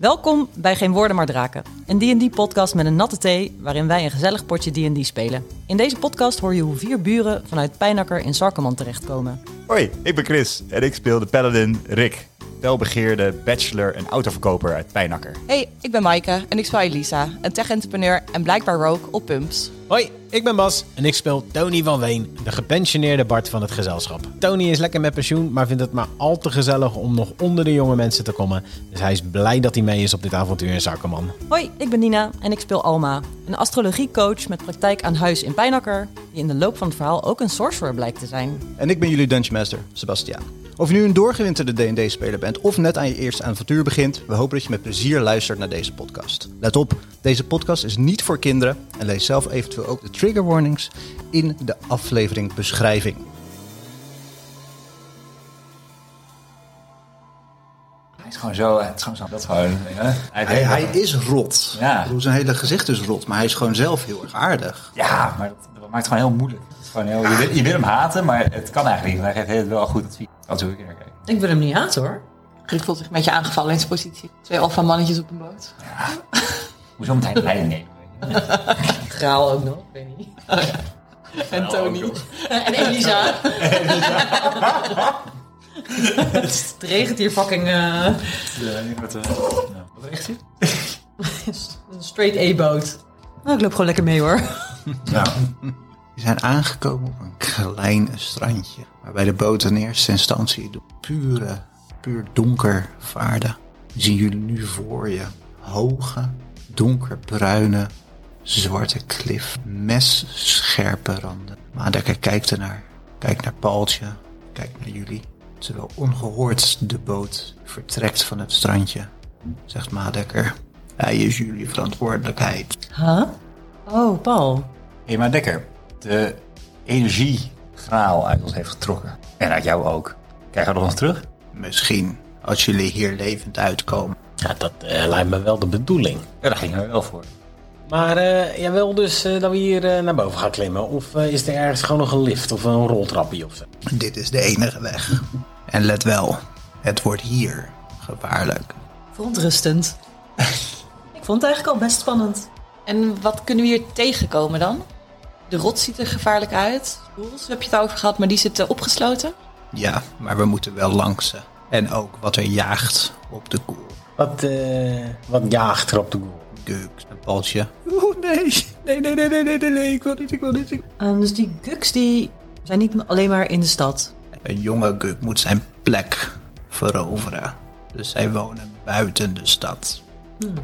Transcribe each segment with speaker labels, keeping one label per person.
Speaker 1: Welkom bij Geen Woorden Maar Draken, een D&D-podcast met een natte thee waarin wij een gezellig potje D&D spelen. In deze podcast hoor je hoe vier buren vanuit Pijnakker in Sarkeman terechtkomen.
Speaker 2: Hoi, ik ben Chris en ik speel de paladin Rick, welbegeerde bachelor en autoverkoper uit Pijnakker.
Speaker 3: Hey, ik ben Maaike en ik speel Elisa, een tech-entrepreneur en blijkbaar rook op Pumps.
Speaker 4: Hoi, ik ben Bas en ik speel Tony van Ween, de gepensioneerde Bart van het gezelschap. Tony is lekker met pensioen, maar vindt het maar al te gezellig om nog onder de jonge mensen te komen. Dus hij is blij dat hij mee is op dit avontuur in Zakkerman.
Speaker 1: Hoi, ik ben Nina en ik speel Alma, een astrologiecoach met praktijk aan huis in Pijnakker, die in de loop van het verhaal ook een sorcerer blijkt te zijn.
Speaker 5: En ik ben jullie Dungeon Master, Sebastiaan. Of je nu een doorgewinterde D&D-speler bent of net aan je eerste avontuur begint, we hopen dat je met plezier luistert naar deze podcast. Let op, deze podcast is niet voor kinderen en lees zelf eventueel ook de trigger warnings in de aflevering beschrijving.
Speaker 6: Hij is gewoon zo, eh, het is gewoon zo. Dat gewoon. Hè? Hij,
Speaker 5: Hij, hij is rot.
Speaker 6: Ja.
Speaker 5: Ik bedoel, Zijn hele gezicht is rot, maar hij is gewoon zelf heel erg aardig.
Speaker 6: Ja, maar dat, dat maakt het gewoon heel moeilijk. Het is gewoon heel, je, wil, je wil hem haten, maar het kan eigenlijk niet. want Hij geeft heel wel goed advies. Dat is hoe ik er kijk.
Speaker 7: Ik wil hem niet haten hoor.
Speaker 3: Rick voelt zich een beetje aangevallen in zijn positie. Twee alfa mannetjes op een boot.
Speaker 6: Hoezo moet hij de leiding nemen? weet je?
Speaker 7: Graal ook nog, ik weet niet.
Speaker 3: En Tony.
Speaker 7: En Elisa. het regent hier fucking eh,
Speaker 6: Wat richt hij?
Speaker 7: een straight A-boot.
Speaker 3: Oh,
Speaker 7: Nou, ik loop gewoon lekker mee hoor.
Speaker 5: We zijn aangekomen op een klein strandje, waarbij de boot in eerste instantie door pure, puur donker vaarde. Zien jullie nu voor je hoge, donkerbruine, zwarte klif, messcherpe randen. Maadekker kijkt ernaar, kijkt naar Paaltje, kijkt naar jullie. Terwijl ongehoord de boot vertrekt van het strandje, zegt Maadekker. Hij is jullie verantwoordelijkheid.
Speaker 7: Huh? Oh, Paul.
Speaker 6: Hé, maar Dekker, de energiegraal uit ons heeft getrokken. En uit jou ook. Krijgen we dat nog terug?
Speaker 5: Misschien als jullie hier levend uitkomen.
Speaker 4: Ja, dat eh, lijkt me wel de bedoeling.
Speaker 6: Ja, daar gingen we wel voor.
Speaker 4: Maar eh, jij wil dus eh, dat we hier eh, naar boven gaan klimmen? Of eh, is er ergens gewoon nog een lift of een roltrappie of zo?
Speaker 5: Dit is de enige weg. En let wel, het wordt hier gevaarlijk.
Speaker 7: Verontrustend. ik vond het eigenlijk al best spannend.
Speaker 3: En wat kunnen we hier tegenkomen dan? De rot ziet er gevaarlijk uit. Roels, heb je het over gehad, maar die zitten opgesloten.
Speaker 5: Ja, maar we moeten wel langs ze. En ook wat er jaagt op de koel.
Speaker 4: Wat, eh, wat jaagt er op de goal?
Speaker 5: Geuks, een paltje. Oeh, Oh, nee. Nee, nee, nee, nee, nee, nee, nee, ik wil niet, ik wil niet. ik-
Speaker 7: Ehm, dus die guks die zijn niet alleen maar in de stad.
Speaker 5: Een jonge Guk moet zijn plek veroveren. Dus zij wonen buiten de stad.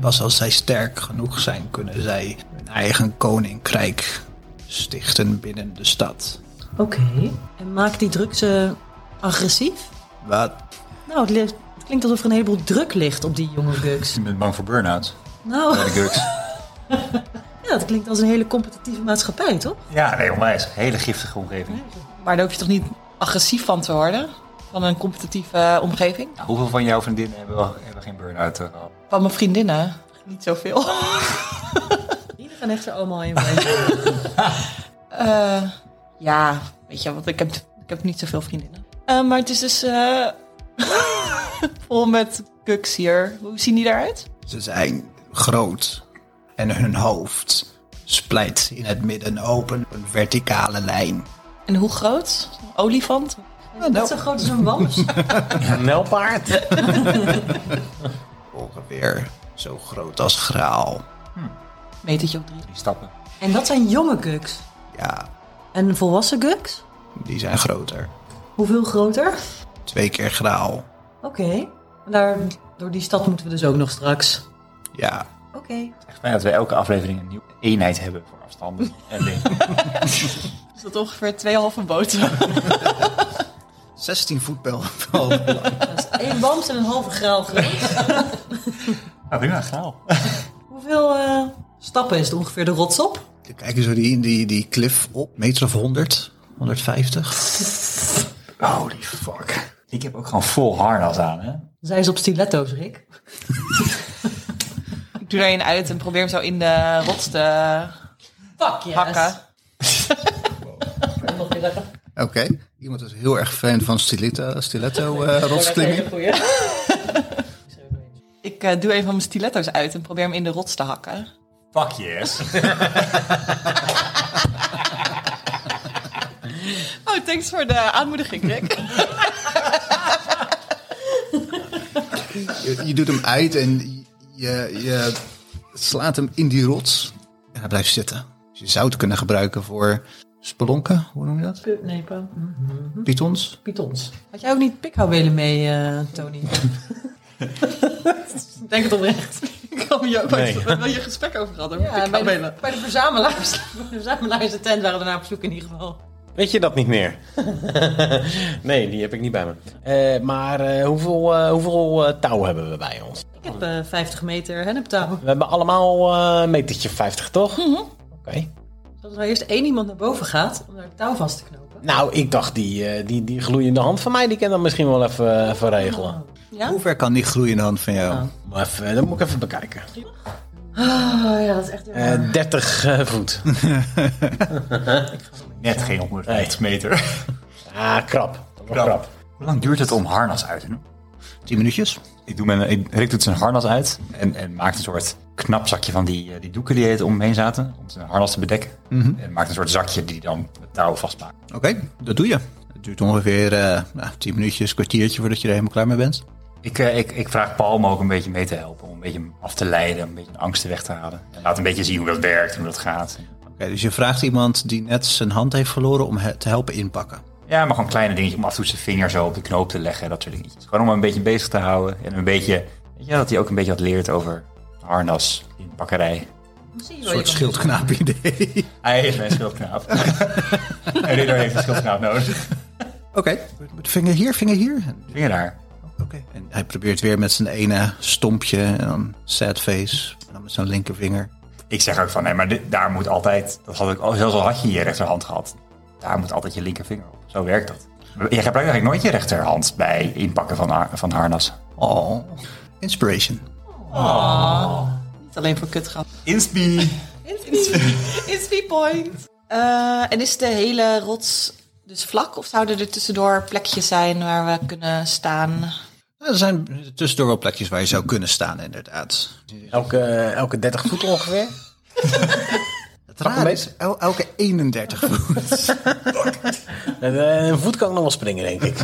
Speaker 5: Pas als zij sterk genoeg zijn, kunnen zij hun eigen koninkrijk stichten binnen de stad.
Speaker 7: Oké. En maakt die druk ze agressief?
Speaker 5: Wat?
Speaker 7: Nou, het, li- het klinkt alsof er een heleboel druk ligt op die jonge guks.
Speaker 6: Je bent bang voor burn-out.
Speaker 7: Nou,
Speaker 6: Bij de Gurks.
Speaker 7: ja, dat klinkt als een hele competitieve maatschappij, toch?
Speaker 6: Ja, nee, onwijs. Hele giftige omgeving.
Speaker 3: Maar daar hoef je toch niet agressief van te worden? Van een competitieve eh, omgeving?
Speaker 6: Nou, Hoeveel van jouw vriendinnen hebben, wel- hebben geen burn-out eh, gehad?
Speaker 3: Van mijn vriendinnen? Niet zoveel.
Speaker 7: Iedereen gaan echt er allemaal in.
Speaker 3: Eh, ja, weet je, want ik heb, ik heb niet zoveel vriendinnen. Eh, maar het is dus eh, vol met kuks hier. Hoe zien die eruit?
Speaker 5: Ze zijn groot en hun hoofd splijt in het midden open op een verticale lijn.
Speaker 3: En hoe groot? Een olifant?
Speaker 7: Net zo groot als een wams.
Speaker 4: Een nelpaard?
Speaker 5: Ongeveer zo groot als graal.
Speaker 3: Metertje op drie.
Speaker 6: Die stappen.
Speaker 7: En dat zijn jonge guks.
Speaker 5: Ja,
Speaker 7: En volwassen guks?
Speaker 5: die zijn groter.
Speaker 7: Hoeveel groter?
Speaker 5: Twee keer graal.
Speaker 7: Oké. En Daar, door die stad moeten we dus ook nog straks.
Speaker 5: Ja,
Speaker 7: Oké.
Speaker 6: Echt fijn Nou dat we elke aflevering een nieuwe eenheid hebben voor afstanden en dingen.
Speaker 3: Is dat ongeveer twee halve boten?
Speaker 5: 16 voet bij
Speaker 7: Dat is één wams en een halve graal groot.
Speaker 6: Nou, prima, graal.
Speaker 7: Hoeveel eh, stappen is het ongeveer de rots op?
Speaker 5: Dan kijken ze die, die, die cliff op, meter of 100, 150.
Speaker 6: Holy fuck. Ik heb ook gewoon vol harnas aan, hè?
Speaker 7: Zij is op stiletto's, Rick.
Speaker 3: Ik doe er een uit en probeer hem zo in de rots te
Speaker 7: Fuck yes.
Speaker 3: hakken.
Speaker 7: Nog weer lekker.
Speaker 5: Oké, iemand is heel erg fan van stiletto, stiletto eh, rotsklimming.
Speaker 7: Goeie.
Speaker 3: Ik eh, doe een van mijn stiletto's uit en probeer hem in de rots te hakken.
Speaker 6: Fuck yes.
Speaker 3: Oh, thanks voor de aanmoediging, Rick.
Speaker 5: Je, je doet hem uit en je, je slaat hem in die rots. En hij blijft zitten. Dus je zou het kunnen gebruiken voor spelonken, hoe noem je dat?
Speaker 7: Nee, pa.
Speaker 5: Pythons?
Speaker 7: Pythons. Had jij ook niet pikhouwelen mee, eh, Tony? Denk het oprecht.
Speaker 3: Ik kwam hier ook
Speaker 4: Nee.
Speaker 3: uit waar we je gesprek over hadden.
Speaker 7: Ja, bij
Speaker 3: ik kan
Speaker 7: de,
Speaker 3: bellen.
Speaker 7: bij de verzamelaars. Bij de verzamelaars de tent waren we naar op zoek in ieder geval.
Speaker 4: Weet je dat niet meer? nee, die heb ik niet bij me. Eh, maar eh, hoeveel, eh, hoeveel eh, touw hebben we bij ons?
Speaker 7: Ik heb eh 50 meter henneptouw.
Speaker 4: We hebben allemaal eh, een metertje 50, toch? Oké.
Speaker 7: Als er nou eerst één iemand naar boven gaat om daar het touw vast te knopen.
Speaker 4: Nou, ik dacht, die, eh, die, die gloeiende hand van mij, die kan dat misschien wel even, eh, even regelen.
Speaker 7: Ja?
Speaker 5: Hoe ver kan die gloeiende hand van jou?
Speaker 4: Maar even, dat moet ik even bekijken.
Speaker 7: Oh, ja, dat is echt...
Speaker 4: Eh, 30 eh, voet.
Speaker 6: Net geen 150 meter.
Speaker 4: Ah, krap. Dat was
Speaker 6: Krap.
Speaker 4: krap.
Speaker 6: Hoe lang duurt het om harnas uit te doen?
Speaker 5: Tien minuutjes?
Speaker 6: Ik doe mijn, ik- Rick doet zijn harnas uit en, en maakt een soort knap zakje van die, eh, die doeken die er omheen zaten. Om zijn harnas te bedekken. En maakt een soort zakje die hij dan met touw vastmaakt.
Speaker 5: Oké, dat doe je. Het duurt ongeveer eh nou, tien minuutjes, kwartiertje voordat je er helemaal klaar mee bent.
Speaker 6: Ik, eh, ik, ik vraag Paul me ook een beetje mee te helpen. Om een beetje hem af te leiden, om een beetje de angsten weg te halen. En laat een beetje zien hoe dat werkt en hoe dat gaat.
Speaker 5: Oké, dus je vraagt iemand die net zijn hand heeft verloren om he- te helpen inpakken.
Speaker 6: Ja, maar gewoon kleine dingetjes om af en toe zijn vinger zo op de knoop te leggen. Dat soort dingetjes. Gewoon om hem een beetje bezig te houden. En een beetje, weet je, wel, dat hij ook een beetje wat leert over harnas in pakkerij.
Speaker 7: Zie je wel, je
Speaker 5: Een soort
Speaker 7: kan-
Speaker 5: schildknaap idee.
Speaker 6: Hij heeft mijn schildknaap. en Riddor heeft een schildknaap nodig.
Speaker 5: Oké, met vinger hier, vinger hier.
Speaker 6: Vinger daar.
Speaker 5: Oké. En hij probeert weer met zijn ene stompje en dan sad face. En dan met zijn linkervinger.
Speaker 6: Ik zeg ook van, nee, maar dit- daar moet altijd... Dat had ik, al- zelfs al had je je rechterhand gehad. Daar moet altijd je linkervinger op. Zo werkt dat. Je gebruikt eigenlijk nooit je rechterhand bij inpakken van, har- van harnas.
Speaker 5: Oh. Inspiration.
Speaker 3: Niet alleen voor kutgrap.
Speaker 6: Inspi!
Speaker 3: It's the point. Eh, en is de hele rots dus vlak? Of zouden er tussendoor plekjes zijn waar we kunnen staan?
Speaker 5: Nou, Er zijn tussendoor wel plekjes waar je zou kunnen staan, inderdaad.
Speaker 4: Elke, elke 30 voet ongeveer.
Speaker 5: Het raar is, el- elke 31 voet.
Speaker 4: Eh, Een voet kan ik nog wel springen, denk ik.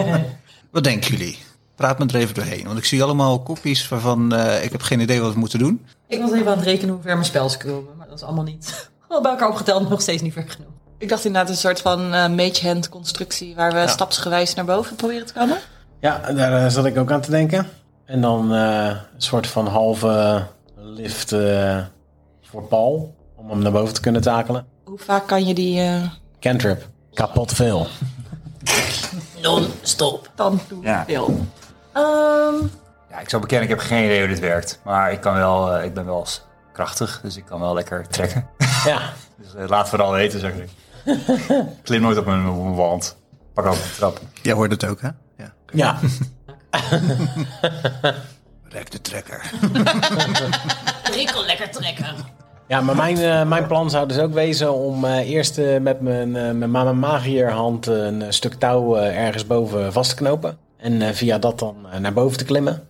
Speaker 5: Wat denken jullie? Praat me er even doorheen. Want ik zie allemaal kopies waarvan eh, ik heb geen idee wat we moeten doen.
Speaker 7: Ik was even aan het rekenen hoe ver mijn spels komen, maar dat is allemaal niet... Al bij elkaar opgeteld nog steeds niet ver genoeg.
Speaker 3: Ik dacht inderdaad een soort van eh mage hand constructie waar we stapsgewijs naar boven proberen te komen.
Speaker 4: Ja, daar eh, zat ik ook aan te denken. En dan eh, een soort van halve lift eh, voor Paul. Om hem naar boven te kunnen takelen.
Speaker 3: Hoe vaak kan je die eh
Speaker 4: Cantrip. Kapot veel.
Speaker 3: dan doen?
Speaker 6: Ja.
Speaker 3: Veel.
Speaker 7: Ehm,
Speaker 6: Ja, ik zou bekennen, ik heb geen idee hoe dit werkt. Maar ik, kan wel, eh, ik ben wel eens krachtig, dus ik kan wel lekker trekken.
Speaker 4: Ja,
Speaker 6: Dus eh, laat vooral weten, zeg ik. Ik Klim nooit op mijn, op mijn wand. Pak altijd de trap.
Speaker 5: Jij hoort het ook, hè? Ja.
Speaker 4: ja.
Speaker 5: Rek de trekker.
Speaker 4: ja maar mijn, eh, mijn plan zou dus ook wezen om eh, eerst eh, met mijn, eh met mijn magierhand een eh, stuk touw eh, ergens boven vast te knopen. En eh, via dat dan eh, naar boven te klimmen.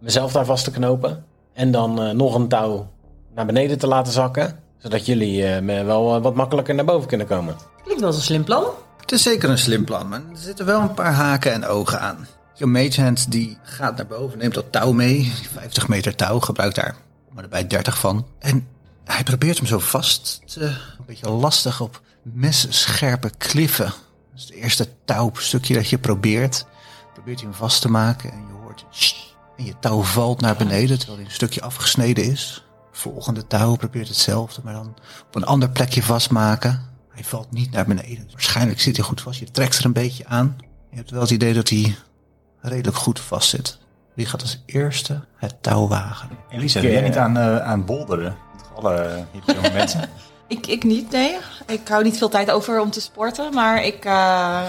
Speaker 4: Mezelf daar vast te knopen. En dan eh, nog een touw naar beneden te laten zakken. Zodat jullie eh, me wel eh, wat makkelijker naar boven kunnen komen.
Speaker 7: klinkt wel als een slim plan.
Speaker 5: Het is zeker een slim plan, maar er zitten wel een paar haken en ogen aan. Je magehand die gaat naar boven, neemt dat touw mee. die 50 meter touw, gebruikt daar maar erbij 30 van. En hij probeert hem zo vast te... Een beetje lastig op messcherpe kliffen. Dat is het eerste touwstukje dat je probeert. Probeert hij hem vast te maken en je hoort... "Sst." En je touw valt naar beneden, terwijl hij een stukje afgesneden is. Volgende touw probeert hetzelfde, maar dan op een ander plekje vastmaken. Hij valt niet naar beneden. Dus Waarschijnlijk zit hij goed vast. Je trekt er een beetje aan. Je hebt wel het idee dat hij redelijk goed vast zit. Wie gaat als eerste het touw wagen?
Speaker 6: Elisa, ben jij niet aan, eh, aan bolderen? Toch Alle hippe jonge mensen.
Speaker 3: Ik, ik niet, nee. Ik hou niet veel tijd over om te sporten, maar ik, eh,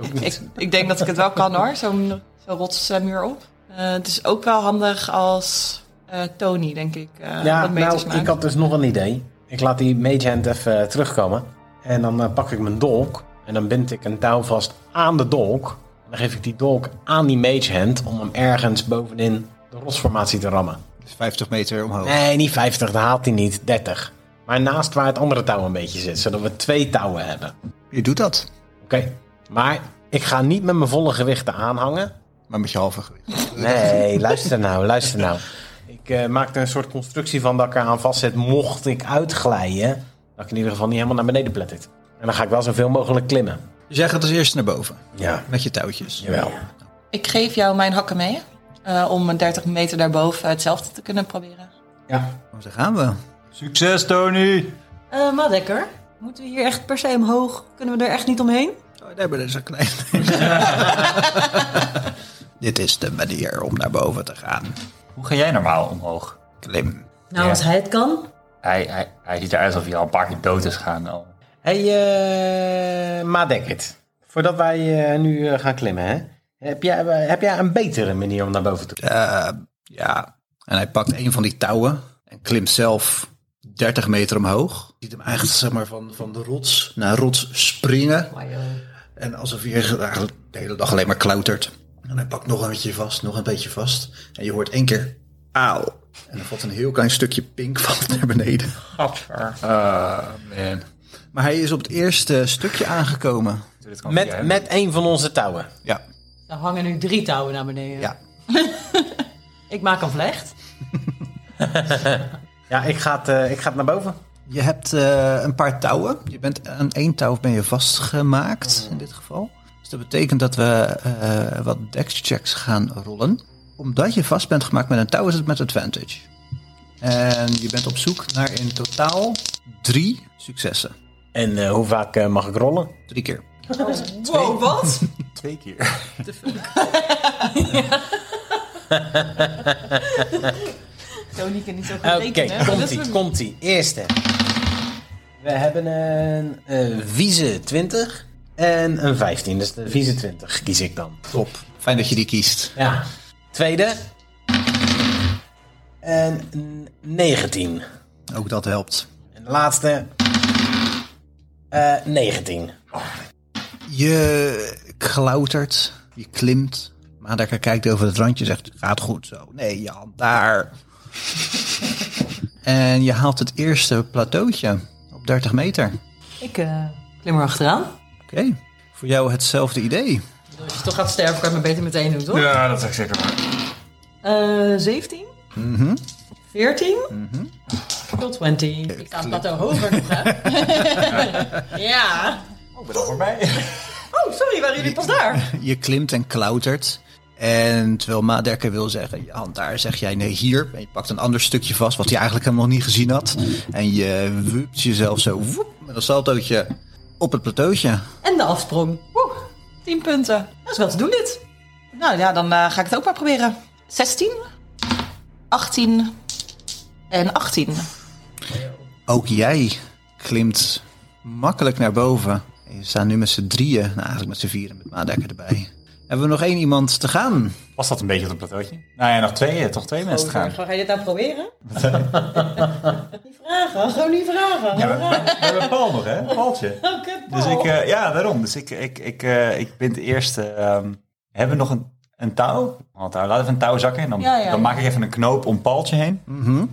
Speaker 3: ik, ik, ik denk dat ik het wel kan hoor, zo'n zo'n rotsmuur op. Eh, het is ook wel handig als eh, Tony, denk ik, eh
Speaker 4: Ja,
Speaker 3: wat meters
Speaker 4: nou,
Speaker 3: maakt.
Speaker 4: ik had dus nog een idee. Ik laat die mage hand even eh, terugkomen. En dan eh, pak ik mijn dolk. En dan bind ik een touw vast aan de dolk. En dan geef ik die dolk aan die mage hand om hem ergens bovenin de rotsformatie te rammen.
Speaker 5: Dus 50 meter omhoog.
Speaker 4: Nee, niet 50, dat haalt hij niet. 30. Maar naast waar het andere touw een beetje zit, zodat we twee touwen hebben. Oké,
Speaker 5: Je doet dat,
Speaker 4: maar ik ga niet met mijn volle gewichten aanhangen.
Speaker 5: maar met je halve gewicht.
Speaker 4: Nee, luister nou, luister nou. Ik eh, maak er een soort constructie van dat ik eraan vastzet, mocht ik uitglijden. Dat ik in ieder geval niet helemaal naar beneden plettert. En dan ga ik wel zoveel mogelijk klimmen.
Speaker 5: Dus jij gaat als eerste naar boven.
Speaker 4: Ja,
Speaker 5: Met je touwtjes.
Speaker 4: jawel.
Speaker 3: Ik geef jou mijn hakken mee. eh, om een 30 meter daarboven hetzelfde te kunnen proberen.
Speaker 4: Ja.
Speaker 5: Daar gaan we.
Speaker 2: Succes, Tony!
Speaker 7: Eh Madekker, moeten we hier echt per se omhoog? Kunnen we er echt niet omheen?
Speaker 5: Oh, daar ben ik zo klein. Dit is de manier om naar boven te gaan.
Speaker 6: Hoe ga jij normaal omhoog?
Speaker 5: Klim.
Speaker 7: Nou,
Speaker 6: Ja.
Speaker 7: als hij het kan.
Speaker 6: Hij, hij, hij ziet eruit alsof hij al een paar keer dood is gegaan. Oh. Al.
Speaker 4: hey, eh Madekkert. Voordat wij eh, nu eh, gaan klimmen, hè, heb, jij, eh, heb jij een betere manier om naar boven te
Speaker 5: Eh, ja. En hij pakt een van die touwen en klimt zelf 30 meter omhoog. Je ziet hem eigenlijk zeg maar, van, van de rots naar rots springen. En alsof hij eigenlijk de hele dag alleen maar klautert. En hij pakt nog een beetje vast, nog een beetje vast. En je hoort één keer auw. En dan valt een heel klein stukje pink valt naar beneden.
Speaker 6: Eh, Man.
Speaker 5: Maar hij is op het eerste stukje aangekomen.
Speaker 4: doen? Met, met een van onze touwen.
Speaker 5: Ja,
Speaker 7: Er hangen nu drie touwen naar beneden.
Speaker 5: ja.
Speaker 7: Ik maak een vlecht.
Speaker 4: Ja, ik ga, het, eh, ik ga het naar boven.
Speaker 5: Je hebt eh, een paar touwen. Je bent aan één touw ben je vastgemaakt in dit geval. Dus dat betekent dat we eh, wat dexchecks gaan rollen. Omdat je vast bent gemaakt met een touw is het met advantage. En je bent op zoek naar in totaal drie successen.
Speaker 4: En eh, hoe vaak eh, mag ik rollen?
Speaker 5: Drie keer.
Speaker 7: Wow, wat?
Speaker 6: Twee keer.
Speaker 3: Tony kan niet zo goed
Speaker 4: Oké,
Speaker 3: rekenen. hè? Dat is
Speaker 4: komt-ie, komt-ie. Eerste. We hebben een eh vieze 20 en een 15. Dus de vieze 20 kies ik dan.
Speaker 5: Top. Fijn dat je die kiest.
Speaker 4: Ja. Tweede. En een 19.
Speaker 5: Ook dat helpt.
Speaker 4: En de laatste. Eh 19.
Speaker 5: Je klautert, je klimt. Madekker kijkt over het randje en zegt, gaat goed zo. Nee, Jan, daar. en je haalt het eerste plateautje op 30 meter. Oké,
Speaker 7: Ik eh, klim er achteraan.
Speaker 5: voor jou hetzelfde idee.
Speaker 7: Als je toch gaat sterven, kan je het maar beter meteen doen, toch?
Speaker 6: Ja, dat is ik zeker waar.
Speaker 7: Eh, 17? 14? Tot 20.
Speaker 1: Ik sta een plateau hoger nog, hè? ja.
Speaker 7: Oh, sorry, waren jullie pas daar?
Speaker 5: Je klimt en klautert. En terwijl Madekker wil zeggen, Jan, daar zeg jij nee, hier. En je pakt een ander stukje vast, wat hij eigenlijk helemaal niet gezien had. En je wupt jezelf zo, woep, met een saltootje op het plateautje.
Speaker 7: En de afsprong. Woe,
Speaker 3: 10 punten.
Speaker 7: dat is wel te doen dit.
Speaker 3: Nou ja, dan eh, ga ik het ook maar proberen. 16, 18 en 18.
Speaker 5: Ook jij klimt makkelijk naar boven. En je staat nu met z'n drieën, nou eigenlijk met z'n vieren met Maadekker erbij. Hebben we nog één iemand te gaan?
Speaker 6: Was dat een beetje op een plateautje? Nou ja, nog twee, toch twee mensen te gaan.
Speaker 7: Ga je dit nou proberen? niet vragen, gewoon niet vragen.
Speaker 6: Ja, we, we- we hebben Paul nog, hè? Paultje.
Speaker 7: Oh, kut,
Speaker 6: Dus
Speaker 7: Paul.
Speaker 6: ik, eh, ja, daarom. Dus ik, ik, ik, eh, ik ben de eerste. ehm, hebben we nog een, een touw? Oh, een touw. Laat even een touw zakken. En dan,
Speaker 3: Ja, ja.
Speaker 6: dan maak ik even een knoop om Paaltje heen.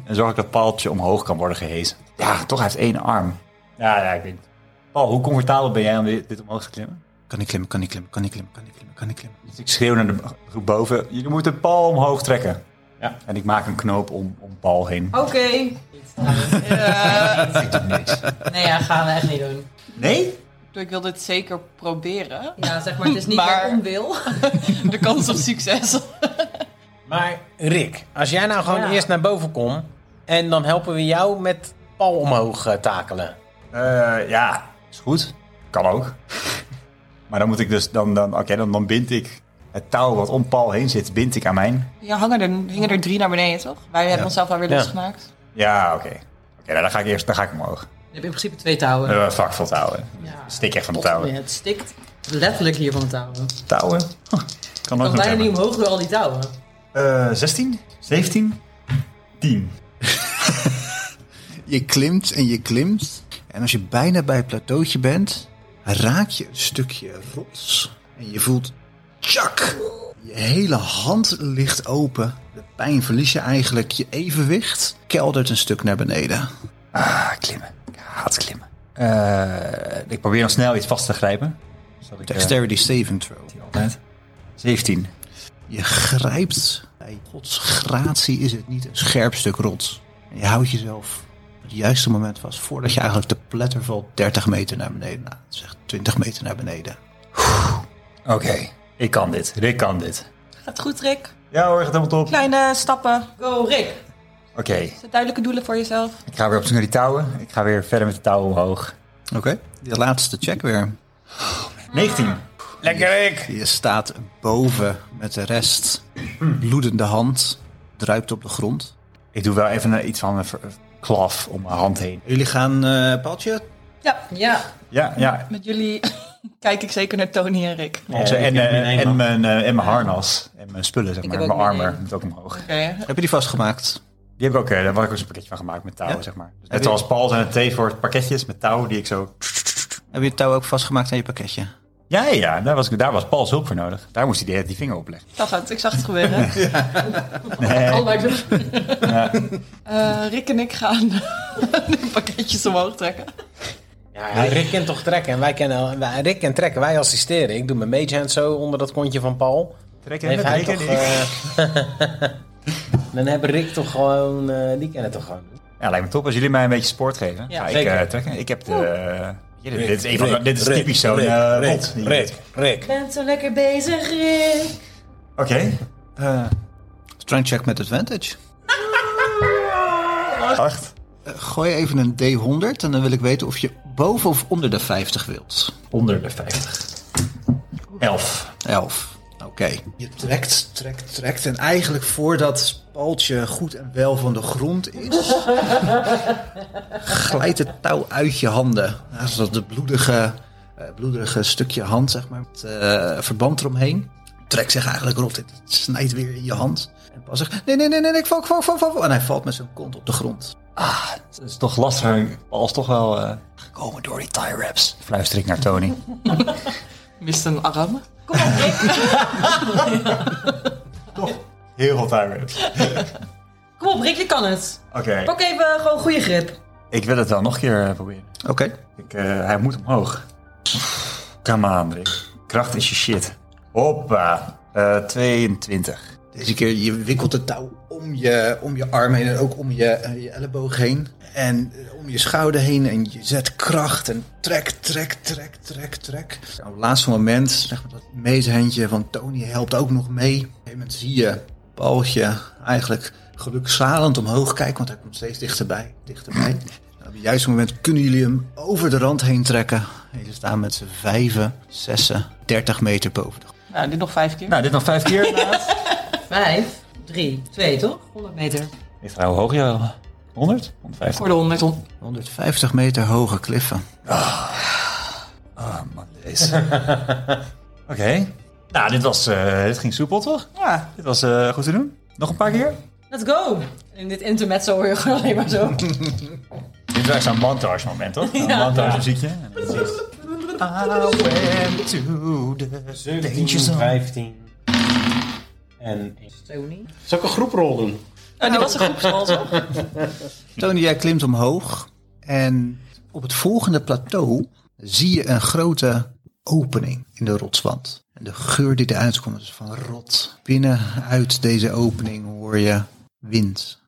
Speaker 6: En zorg ik dat Paaltje omhoog kan worden gehezen. Ja, toch, hij heeft één arm. Ja, ja, ik weet het. Paul, hoe comfortabel ben jij om dit, dit omhoog te klimmen?
Speaker 5: Kan ik klimmen, kan ik klimmen, kan ik klimmen, kan ik klimmen, kan ik klimmen.
Speaker 6: Dus ik schreeuw naar de groep boven. Jullie moeten Paul omhoog trekken. Ja. En ik maak een knoop om, om Paul heen.
Speaker 3: Oh.
Speaker 7: Oké.
Speaker 6: eh,
Speaker 7: nee, ja, gaan we echt niet doen.
Speaker 6: Nee?
Speaker 3: Ik wil dit zeker proberen.
Speaker 7: Ja, zeg maar, het is niet
Speaker 3: Maar-
Speaker 7: waar onwil.
Speaker 3: De kans op succes.
Speaker 4: Maar Rick, als jij nou gewoon
Speaker 7: Ja.
Speaker 4: eerst naar boven komt... en dan helpen we jou met Paul omhoog eh, takelen.
Speaker 6: Eh, ja, is goed. Kan ook. maar dan moet ik dus, dan, dan, oké, dan, dan bind ik het touw wat om Paul heen zit, bind ik aan mijn.
Speaker 3: Ja, hangen er, hingen er drie naar beneden, toch? Wij hebben onszelf alweer
Speaker 4: Ja.
Speaker 3: losgemaakt.
Speaker 6: Ja, oké. Oké, nou, dan ga ik eerst, dan ga ik omhoog.
Speaker 7: Je hebt in principe twee touwen.
Speaker 6: Eh fuck veel touwen. Stik echt van de touwen.
Speaker 7: Het stikt letterlijk hier van de touwen.
Speaker 6: Touwen? Huh,
Speaker 7: Ik kan
Speaker 6: Kan nog niet
Speaker 7: bijna niet
Speaker 6: hebben.
Speaker 7: omhoog door al die touwen.
Speaker 6: Eh, 16? 17? 10.
Speaker 5: Je klimt en je klimt. En als je bijna bij het plateautje bent, raak je een stukje rots. En je voelt, tjak! Je hele hand ligt open. De pijn verlies je eigenlijk je evenwicht. Keldert een stuk naar beneden.
Speaker 6: Ah, klimmen. Ik haat klimmen. Eh, ik probeer nog snel iets vast te grijpen. Zodat ik, eh,
Speaker 5: Dexterity saving throw.
Speaker 6: altijd. 17.
Speaker 5: Je grijpt. Bij gods gratie is het niet een scherp stuk rots. En je houdt jezelf op het juiste moment vast voordat je eigenlijk de pletter valt 30 meter naar beneden. Nou, zeg 20 meter naar beneden.
Speaker 6: Oké, ik kan dit. Rick kan dit.
Speaker 3: Gaat goed, Rick.
Speaker 6: Ja hoor, gaat helemaal top.
Speaker 3: Kleine stappen.
Speaker 7: Go, Rick.
Speaker 6: Oké,
Speaker 3: Zet duidelijke doelen voor jezelf.
Speaker 6: ik ga weer op zoek naar die touwen. Ik ga weer verder met de touwen omhoog.
Speaker 5: Oké. De laatste check weer.
Speaker 6: 19. Lekker Rick!
Speaker 5: Je staat boven met de rest. Bloedende hand. Druipt op de grond.
Speaker 6: Ik doe wel even eh, iets van een ver- klaf om mijn hand heen.
Speaker 5: Jullie gaan, eh Paltje?
Speaker 3: Ja,
Speaker 7: Ja.
Speaker 6: Ja, ja.
Speaker 3: met jullie kijk ik zeker naar Tony en Rick. Oké,
Speaker 6: Onze- en,
Speaker 4: heb
Speaker 6: eh,
Speaker 4: mijn eigen
Speaker 6: en, mijn, eh, en mijn harnas. En mijn spullen, zeg
Speaker 7: Ik
Speaker 6: maar.
Speaker 7: heb
Speaker 6: Mijn
Speaker 7: ook
Speaker 6: armor
Speaker 7: mijn
Speaker 6: moet ook omhoog.
Speaker 5: Heb je die vastgemaakt?
Speaker 6: Die heb ik ook, eh, daar was ik ook een pakketje van gemaakt met touwen,
Speaker 5: Ja?
Speaker 6: zeg maar. Dus
Speaker 5: Heb
Speaker 6: net
Speaker 5: je-
Speaker 6: zoals Paul zijn het thee voor pakketjes met touw die ik zo...
Speaker 5: Heb je het touw ook vastgemaakt aan je pakketje?
Speaker 6: Ja, ja, ja, daar was, ik- daar was Paul's hulp voor nodig. Daar moest hij die, die vinger op leggen.
Speaker 3: ik zag het. Ik zag het gebeuren.
Speaker 7: Al lijkt het.
Speaker 3: Eh, Rick en ik gaan de pakketjes omhoog trekken.
Speaker 4: Ja, Rick kent toch trekken en wij kennen, wij- Rick kent trekken, wij assisteren. Ik doe mijn mage hand zo onder dat kontje van Paul.
Speaker 6: Trek
Speaker 4: Heeft hij toch,
Speaker 6: Ja,
Speaker 4: eh, dan hebben Rick toch gewoon, eh, die kennen toch gewoon.
Speaker 6: lijkt me top. Als jullie mij een beetje sport geven,
Speaker 3: Ja,
Speaker 6: ga ik
Speaker 4: zeker.
Speaker 6: eh, trekken. Ik heb de... Hier, dit, is een
Speaker 4: Rick,
Speaker 6: van, dit is
Speaker 4: Rick,
Speaker 6: typisch zo'n
Speaker 4: Rick,
Speaker 6: eh,
Speaker 4: Rick,
Speaker 6: bot. Die-
Speaker 4: Rick, Rick.
Speaker 7: bent zo lekker bezig, Rick.
Speaker 6: Oké. Eh,
Speaker 5: Strength check met advantage.
Speaker 6: acht.
Speaker 5: Eh, Gooi even een D100 en dan wil ik weten of je boven of onder de 50 wilt.
Speaker 6: Onder de 50. 11.
Speaker 5: 11. Oké. Je trekt, trekt, trekt. En eigenlijk voordat Paltje goed en wel van de grond is, glijdt het touw uit je handen. Ja, Zodat de bloedige, eh, bloederige stukje hand, zeg maar, met eh, verband eromheen, trekt zich eigenlijk rot. Het snijdt weer in je hand. En Paul zegt, nee, nee, nee, nee, nee, ik val, ik val, ik val, ik val. En hij valt met zijn kont op de grond.
Speaker 6: Het is toch lastiger als toch wel eh, gekomen door die tie wraps. Fluister ik naar Tony.
Speaker 3: Mist een arm.
Speaker 6: Heel veel tie wraps.
Speaker 7: Kom op, Rick, je kan het.
Speaker 6: Oké.
Speaker 7: Pak even gewoon goede grip.
Speaker 6: Ik wil het wel nog een keer eh, proberen.
Speaker 5: Oké.
Speaker 6: Ik, eh, hij moet omhoog. Come on, Rick. Kracht is je shit. Hoppa. Eh, 22.
Speaker 5: Deze keer, je wikkelt het touw om je, om je arm heen en ook om je, eh, je elleboog heen. En eh, om je schouder heen en je zet kracht en trek, trek, trek, trek, trek. Nou, op het laatste moment, zeg maar, dat meeshandje van Tony helpt ook nog mee. Op een gegeven moment zie je Paultje eigenlijk gelukzalend omhoog kijken, want hij komt steeds dichterbij, dichterbij. En op het juiste moment kunnen jullie hem over de rand heen trekken. En jullie staan met z'n vijven, zessen, 30 meter boven de grond.
Speaker 3: Nou, dit nog vijf keer.
Speaker 6: Nou, dit nog vijf keer.
Speaker 7: Vijf, drie, twee, toch? 100 meter.
Speaker 6: Ik ga hoe hoog je wel? 100? 150?
Speaker 3: Voor de 100. on-
Speaker 5: 150 meter hoge kliffen.
Speaker 6: Oh, man, deze. Oké. Nou, dit, was, eh, dit ging soepel, toch?
Speaker 3: Ja.
Speaker 6: Dit was eh, goed te doen. Nog een paar keer?
Speaker 7: Let's go. In dit intermezzo hoor je gewoon alleen maar
Speaker 3: Oh,
Speaker 7: zo.
Speaker 6: Dit is echt zo'n montage moment, toch? Een montage muziekje. En dan zie je- I went to the-
Speaker 4: 17, 15 en...
Speaker 7: Tony.
Speaker 4: Zal ik een groeprol doen?
Speaker 3: Nou, die was een groepsrol, toch?
Speaker 5: Tony, jij klimt omhoog. En op het volgende plateau zie je een grote opening in de rotswand. En de geur die eruit komt is van rot. Binnen uit deze opening hoor je wind.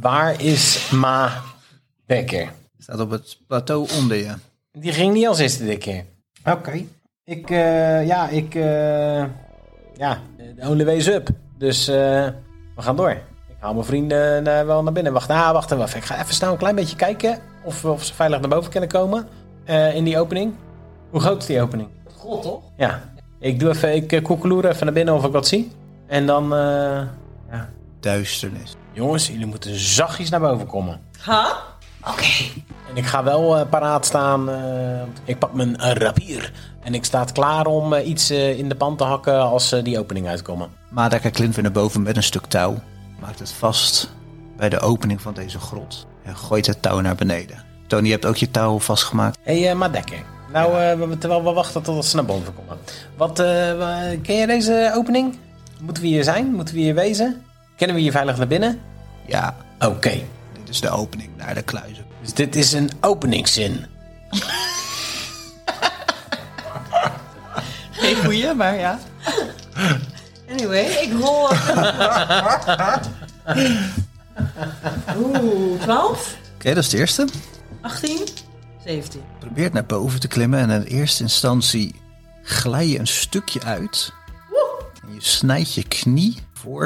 Speaker 4: Waar is Ma Becker?
Speaker 5: Staat op het plateau onder je.
Speaker 4: Die ging niet als eerste dit keer. Oké. Ik, eh, ja, ik, eh, ja, de only way is up. Dus eh, we gaan door. Ik haal mijn vrienden eh, wel naar binnen. Wacht, ah, wacht even. Ik ga even snel een klein beetje kijken of, we- of ze veilig naar boven kunnen komen eh, in die opening. Hoe groot is die opening?
Speaker 7: God, toch?
Speaker 4: Ja. Ik doe even, ik eh, koekeloer even naar binnen of ik wat zie. En dan, eh,
Speaker 5: Duisternis.
Speaker 4: jongens, jullie moeten zachtjes naar boven komen.
Speaker 7: Ha?
Speaker 4: En ik ga wel eh, paraat staan. eh, ik pak mijn eh, rapier. En ik sta klaar om eh, iets eh, in de pan te hakken als eh, die opening uitkomen.
Speaker 5: Madaka klimt weer naar boven met een stuk touw. Maakt het vast bij de opening van deze grot. En gooit het touw naar beneden. Tony, je hebt ook je touw vastgemaakt.
Speaker 4: Hé, hey, Madekker. eh, Nou, eh, we- terwijl we wachten tot ze naar boven komen. Wat, eh, wa- ken je deze opening? Moeten we hier zijn? Moeten we hier wezen? Kennen we hier veilig naar binnen?
Speaker 5: Ja,
Speaker 4: Oké.
Speaker 5: dit is de opening naar de kluizen.
Speaker 4: Dus dit is een openingszin.
Speaker 3: Geen goeie, maar ja.
Speaker 7: Anyway, ik rol. Oeh, 12,
Speaker 5: Oké, dat is de eerste.
Speaker 7: 18, 17.
Speaker 5: Probeert naar boven te klimmen en in eerste instantie glij je een stukje uit. En je snijdt je knie voor.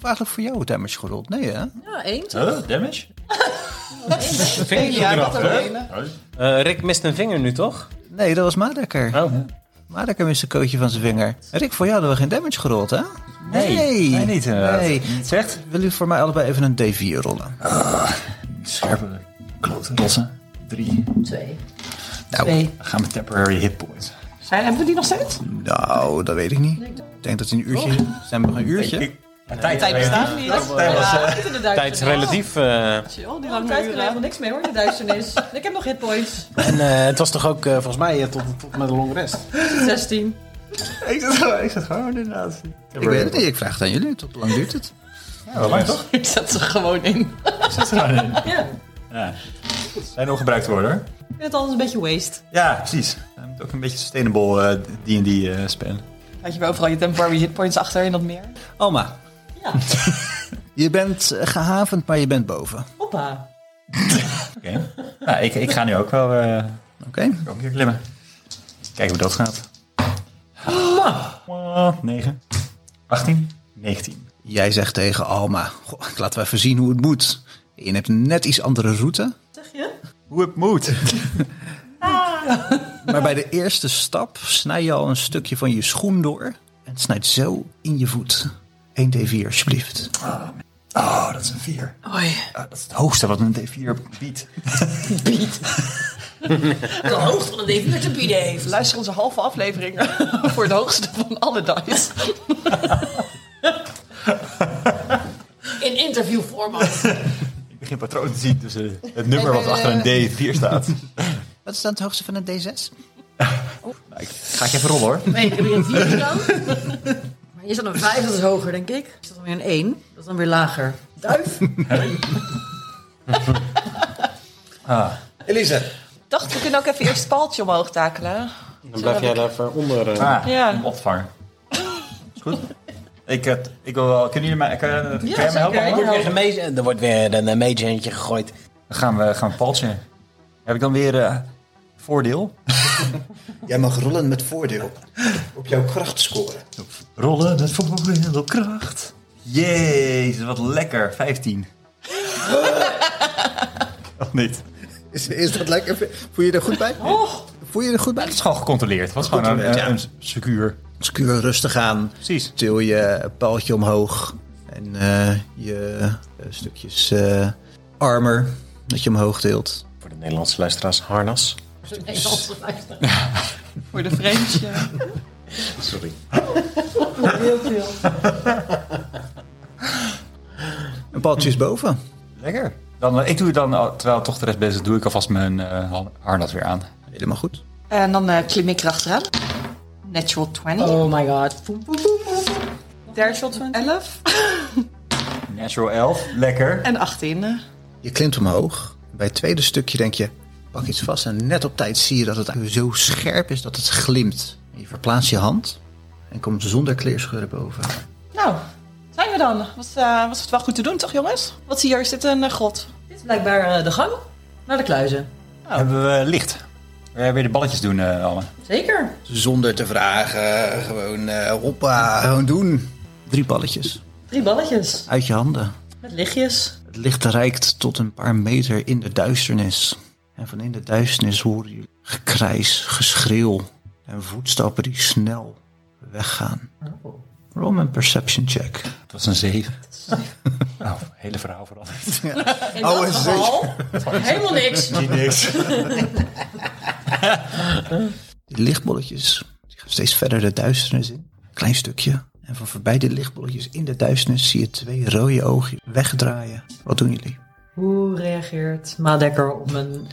Speaker 5: Wat hebben we Eigenlijk voor jou het damage gerold. Nee, hè?
Speaker 7: Ja, 1.
Speaker 6: Huh? Damage?
Speaker 3: Ja, dat ook ene.
Speaker 4: Eh, Rick mist een vinger nu, toch?
Speaker 5: Nee, dat was Madekker.
Speaker 4: Oh.
Speaker 5: Madekker mist een kootje van zijn vinger. Rick, voor jou hadden we geen damage gerold, hè?
Speaker 6: mij niet inderdaad.
Speaker 5: Nee.
Speaker 6: Niet echt?
Speaker 5: Wil u voor mij allebei even een D4 rollen?
Speaker 6: Scherpe kloten. Klossen. Drie.
Speaker 7: Twee.
Speaker 5: Nou,
Speaker 7: Twee.
Speaker 6: Dan gaan we temporary hit points.
Speaker 3: Zijn, hebben we die nog steeds?
Speaker 5: nou, dat weet ik niet. Ik denk dat in een uurtje... Zijn we nog een uurtje?
Speaker 6: Ik- Ja, tijd
Speaker 3: Tijd bestaat niet.
Speaker 6: Tijd was, eh,
Speaker 4: Tijd is relatief. eh,
Speaker 3: Chill, die
Speaker 7: Lang tijd kunnen
Speaker 3: lange
Speaker 7: we
Speaker 3: uren.
Speaker 7: helemaal niks mee hoor, de duisternis. ik heb nog hitpoints.
Speaker 4: En eh, het was toch ook eh, volgens mij eh, tot, tot met een long rest.
Speaker 7: 16.
Speaker 6: Ik zat gewoon- ik zat gewoon inderdaad.
Speaker 5: Ik weet het niet, ik vraag het aan jullie. Tot hoe lang duurt het?
Speaker 6: Ja, wel lang toch?
Speaker 3: Ik zet ze gewoon in.
Speaker 6: Zit er gewoon in.
Speaker 7: Ja.
Speaker 6: Ja. Zijn nog gebruikt worden hoor.
Speaker 7: Ik vind het altijd een beetje waste.
Speaker 6: Ja, precies. Hij moet ook een beetje sustainable eh, D&D eh, spelen.
Speaker 3: Had je wel overal je temporary hitpoints achter in dat meer?
Speaker 5: Alma.
Speaker 7: Ja.
Speaker 5: Je bent eh, gehavend, maar je bent boven.
Speaker 7: Hoppa.
Speaker 6: Oké. Nou, ik, ik ga nu ook wel eh,
Speaker 5: Oké?
Speaker 6: ook een keer klimmen. Kijken hoe dat gaat. 9. 18. 19.
Speaker 5: Jij zegt tegen Alma, "Goh, laten we even zien hoe het moet. Je hebt een net iets andere route.
Speaker 7: Zeg je? Ah.
Speaker 2: Hoe het moet.
Speaker 5: Maar bij de eerste stap snij je al een stukje van je schoen door. En het snijdt zo in je voet. 1d4 alsjeblieft.
Speaker 6: Oh, dat is een 4.
Speaker 7: Oei.
Speaker 6: Ah, dat is het hoogste wat een D4 biedt.
Speaker 7: De hoogte van de even te bieden heeft.
Speaker 3: Luister onze halve aflevering voor het hoogste van alle dice.
Speaker 7: In interviewformat.
Speaker 6: Ik begin patroon te zien tussen het nummer wat achter een D4 staat.
Speaker 5: Wat is dan het hoogste van een d6?
Speaker 6: Ga ik even rollen hoor.
Speaker 7: Nee, ik heb hier een 4 gedaan. Maar hier staat een 5, dat is hoger, denk ik. Hier staat dan weer een 1, dat is dan weer lager. Duif.
Speaker 4: Elise.
Speaker 3: Ik dacht, we kunnen ook even eerst het paaltje omhoog takelen.
Speaker 4: Dan blijf jij daar even onder. eh.
Speaker 6: Ah,
Speaker 3: Ja.
Speaker 6: een opvanger. Is goed. Ik, eh, ik wil wel... Kunnen jullie mij, kan, kan jij me helpen?
Speaker 7: zeker.
Speaker 6: Anne?
Speaker 4: Er wordt weer gemeze- Er wordt weer een eh, mage handje gegooid.
Speaker 6: Dan gaan we, gaan we paltje. Heb ik dan weer eh, voordeel?
Speaker 5: Jij mag rollen met voordeel. Op jouw kracht scoren.
Speaker 6: Rollen met voordeel op kracht. Jezus, wat lekker. 15. of niet?
Speaker 5: Is, is dat lekker? Voel je er goed bij? Voel je er goed bij?
Speaker 6: Het is gewoon gecontroleerd. Het was gewoon een,
Speaker 5: Gecontroleerd,
Speaker 6: een, een secuur.
Speaker 5: Scuur rustig aan.
Speaker 6: Precies.
Speaker 5: Til je paaltje omhoog. En eh, je eh, stukjes eh, armor dat je omhoog tilt.
Speaker 4: Voor de Nederlandse luisteraars, harnas.
Speaker 3: Voor de vreemdje.
Speaker 4: Sorry.
Speaker 7: Heel veel.
Speaker 5: Een paaltje is boven.
Speaker 6: Lekker. Dan, eh, ik doe dan, al- terwijl toch de rest bezig is, doe ik alvast mijn eh, har- harnas weer aan.
Speaker 5: Helemaal goed.
Speaker 3: En dan eh, klim ik erachteraan. Natural 20.
Speaker 7: Oh my god. Poem, poem, poem, poem.
Speaker 3: Natural 20. 11.
Speaker 6: Natural 11. Lekker.
Speaker 3: En 18. eh.
Speaker 5: Je klimt omhoog. Bij het tweede stukje denk je, pak iets vast. En net op tijd zie je dat het zo scherp is dat het glimt. Je verplaatst je hand en komt zonder kleerscheuren boven.
Speaker 3: Nou, zijn we dan. Was, eh, was het wel goed te doen, toch jongens? Wat zie je hier? Is dit een eh, grot?
Speaker 7: Dit is blijkbaar eh, de gang naar de kluizen.
Speaker 6: Oh. Hebben we licht. Eh, weer de balletjes doen, eh Anne.
Speaker 7: Zeker.
Speaker 5: Zonder te vragen, gewoon eh hoppa, gewoon doen. Drie balletjes
Speaker 7: Drie balletjes
Speaker 5: uit je handen.
Speaker 7: met lichtjes.
Speaker 5: Het licht reikt tot een paar meter in de duisternis. En van in de duisternis horen jullie gekrijs, geschreeuw en voetstappen die snel weggaan. Roll me een perception check.
Speaker 6: Het was een 7. Oh, hele verhaal veranderd.
Speaker 7: In dat
Speaker 5: en
Speaker 7: geval helemaal niks.
Speaker 5: Die lichtbolletjes die gaan steeds verder de duisternis in. Klein stukje. En van voorbij de lichtbolletjes in de duisternis zie je twee rode ogen wegdraaien. Wat doen jullie?
Speaker 7: Hoe reageert Madekker op mijn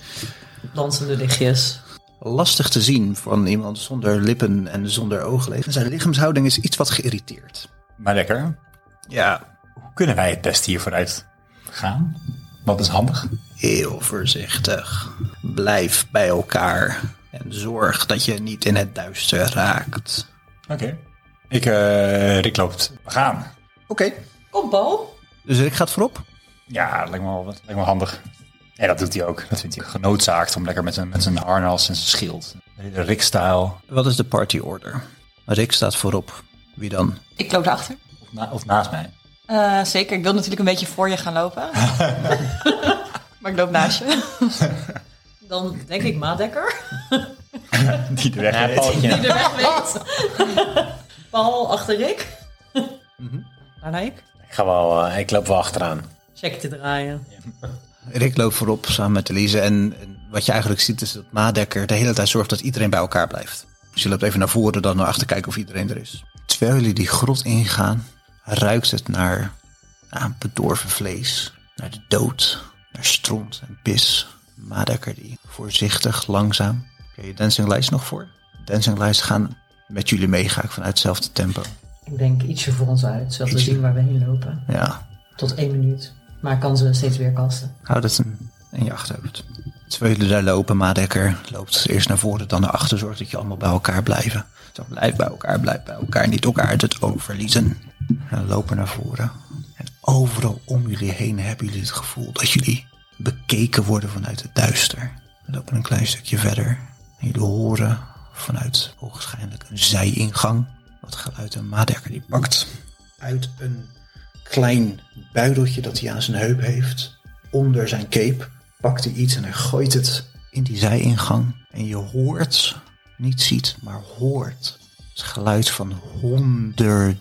Speaker 7: dansende lichtjes?
Speaker 5: Lastig te zien van iemand zonder lippen en zonder oogleden. Zijn lichaamshouding is iets wat geïrriteerd.
Speaker 6: Maar lekker. Ja, hoe kunnen wij het best hier vooruit gaan? Wat is handig?
Speaker 5: Heel voorzichtig. Blijf bij elkaar. En zorg dat je niet in het duister raakt.
Speaker 6: Oké. Ik, eh Rick loopt. We gaan.
Speaker 5: Oké.
Speaker 3: Kom, Paul.
Speaker 5: Dus ik gaat voorop.
Speaker 6: Ja, dat lijkt me wel, dat lijkt me wel handig. En dat doet hij ook. Dat vindt hij genoodzaakt om lekker met zijn, met zijn harnas en zijn schild. De Rick-style.
Speaker 5: Wat is de party order? Rick staat voorop. Wie dan?
Speaker 3: Ik loop daarachter.
Speaker 6: Of, na- of naast mij.
Speaker 3: Eh zeker, ik wil natuurlijk een beetje voor je gaan lopen. maar ik loop naast je.
Speaker 7: Dan denk ik Madekker.
Speaker 6: Die de weg weet.
Speaker 7: De weg weet. Paul achter Rick. Daarna ik.
Speaker 4: Ik, ga wel, eh, ik loop wel achteraan.
Speaker 7: Check te draaien.
Speaker 5: Rick loopt voorop samen met Elise. En en wat je eigenlijk ziet is dat Madekker de hele tijd zorgt dat iedereen bij elkaar blijft. Dus je loopt even naar voren, dan naar achter kijken of iedereen er is. Terwijl jullie die grot ingaan, ruikt het naar ah, bedorven vlees. Naar de dood. Naar stront en pis. Madekker die voorzichtig, langzaam. Oké, je dancing lights nog voor? Dancing lights gaan met jullie mee, ga ik vanuit hetzelfde tempo.
Speaker 7: Ik denk ietsje voor ons uit, zodat
Speaker 5: Ietsje.
Speaker 7: we zien waar we heen lopen.
Speaker 5: Ja,
Speaker 7: Tot één minuut. Maar kan ze steeds weer kasten.
Speaker 5: Hou dat in, in je achterhoofd. Terwijl jullie daar lopen, Madekker loopt eerst naar voren, dan naar achter. Zorg dat je allemaal bij elkaar blijven. Zo, blijf bij elkaar, blijf bij elkaar. Niet elkaar uit het oog verliezen. En lopen naar voren. En overal om jullie heen hebben jullie het gevoel dat jullie bekeken worden vanuit het duister. We lopen een klein stukje verder. En jullie horen vanuit waarschijnlijk een zijingang wat geluid. En Madekker die pakt uit een klein buideltje dat hij aan zijn heup heeft. Onder zijn cape pakt hij iets en hij gooit het in die zijingang. En je hoort, niet ziet, maar hoort het geluid van honderden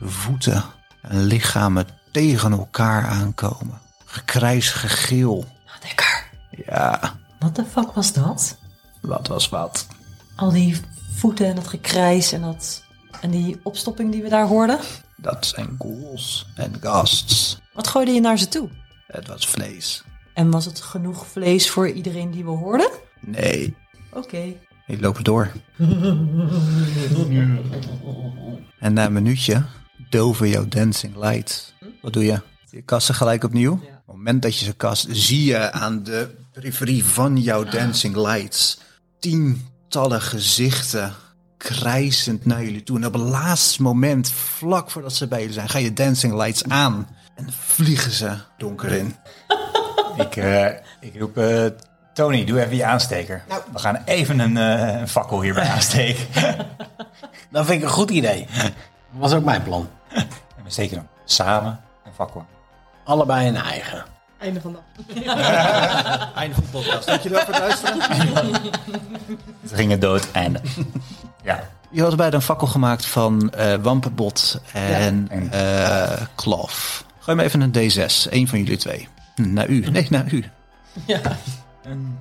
Speaker 5: voeten en lichamen tegen elkaar aankomen. Gekrijs, gegil.
Speaker 7: Madekker.
Speaker 5: Ja,
Speaker 7: Wat de fuck was dat?
Speaker 5: wat was wat?
Speaker 7: Al die voeten en dat gekrijs en dat... En die opstopping die we daar hoorden.
Speaker 5: Dat zijn ghouls en ghasts.
Speaker 7: Wat gooide je naar ze toe?
Speaker 5: Het was vlees.
Speaker 7: En was het genoeg vlees voor iedereen die we hoorden?
Speaker 5: Nee,
Speaker 7: Oké.
Speaker 5: Die lopen door. en na een minuutje doven jouw dancing light. Wat doe je? Je kast ze gelijk opnieuw? Op het moment dat je ze kast, zie je aan de periferie van jouw dancing lights tientallen gezichten krijsend naar jullie toe. En op het laatste moment, vlak voordat ze bij jullie zijn, ga je dancing lights aan. En vliegen ze donker in.
Speaker 6: Ik, eh, ik roep, eh, Tony, doe even je aansteker. We gaan even een, eh, een fakkel hierbij aansteken.
Speaker 4: Dat vind ik een goed idee. was ook mijn plan.
Speaker 6: en we steken hem samen een fakkel.
Speaker 4: Allebei een eigen.
Speaker 8: Einde van de
Speaker 4: Einde van de podcast.
Speaker 5: Dankjewel voor het luisteren.
Speaker 6: Ze gingen dood, einde. ja,
Speaker 5: Je had bij een fakkel gemaakt van eh wampenbot en
Speaker 6: en-
Speaker 5: eh klof. Gooi me even een D6. Eén van jullie twee. Hm, Naar u. Nee, naar u.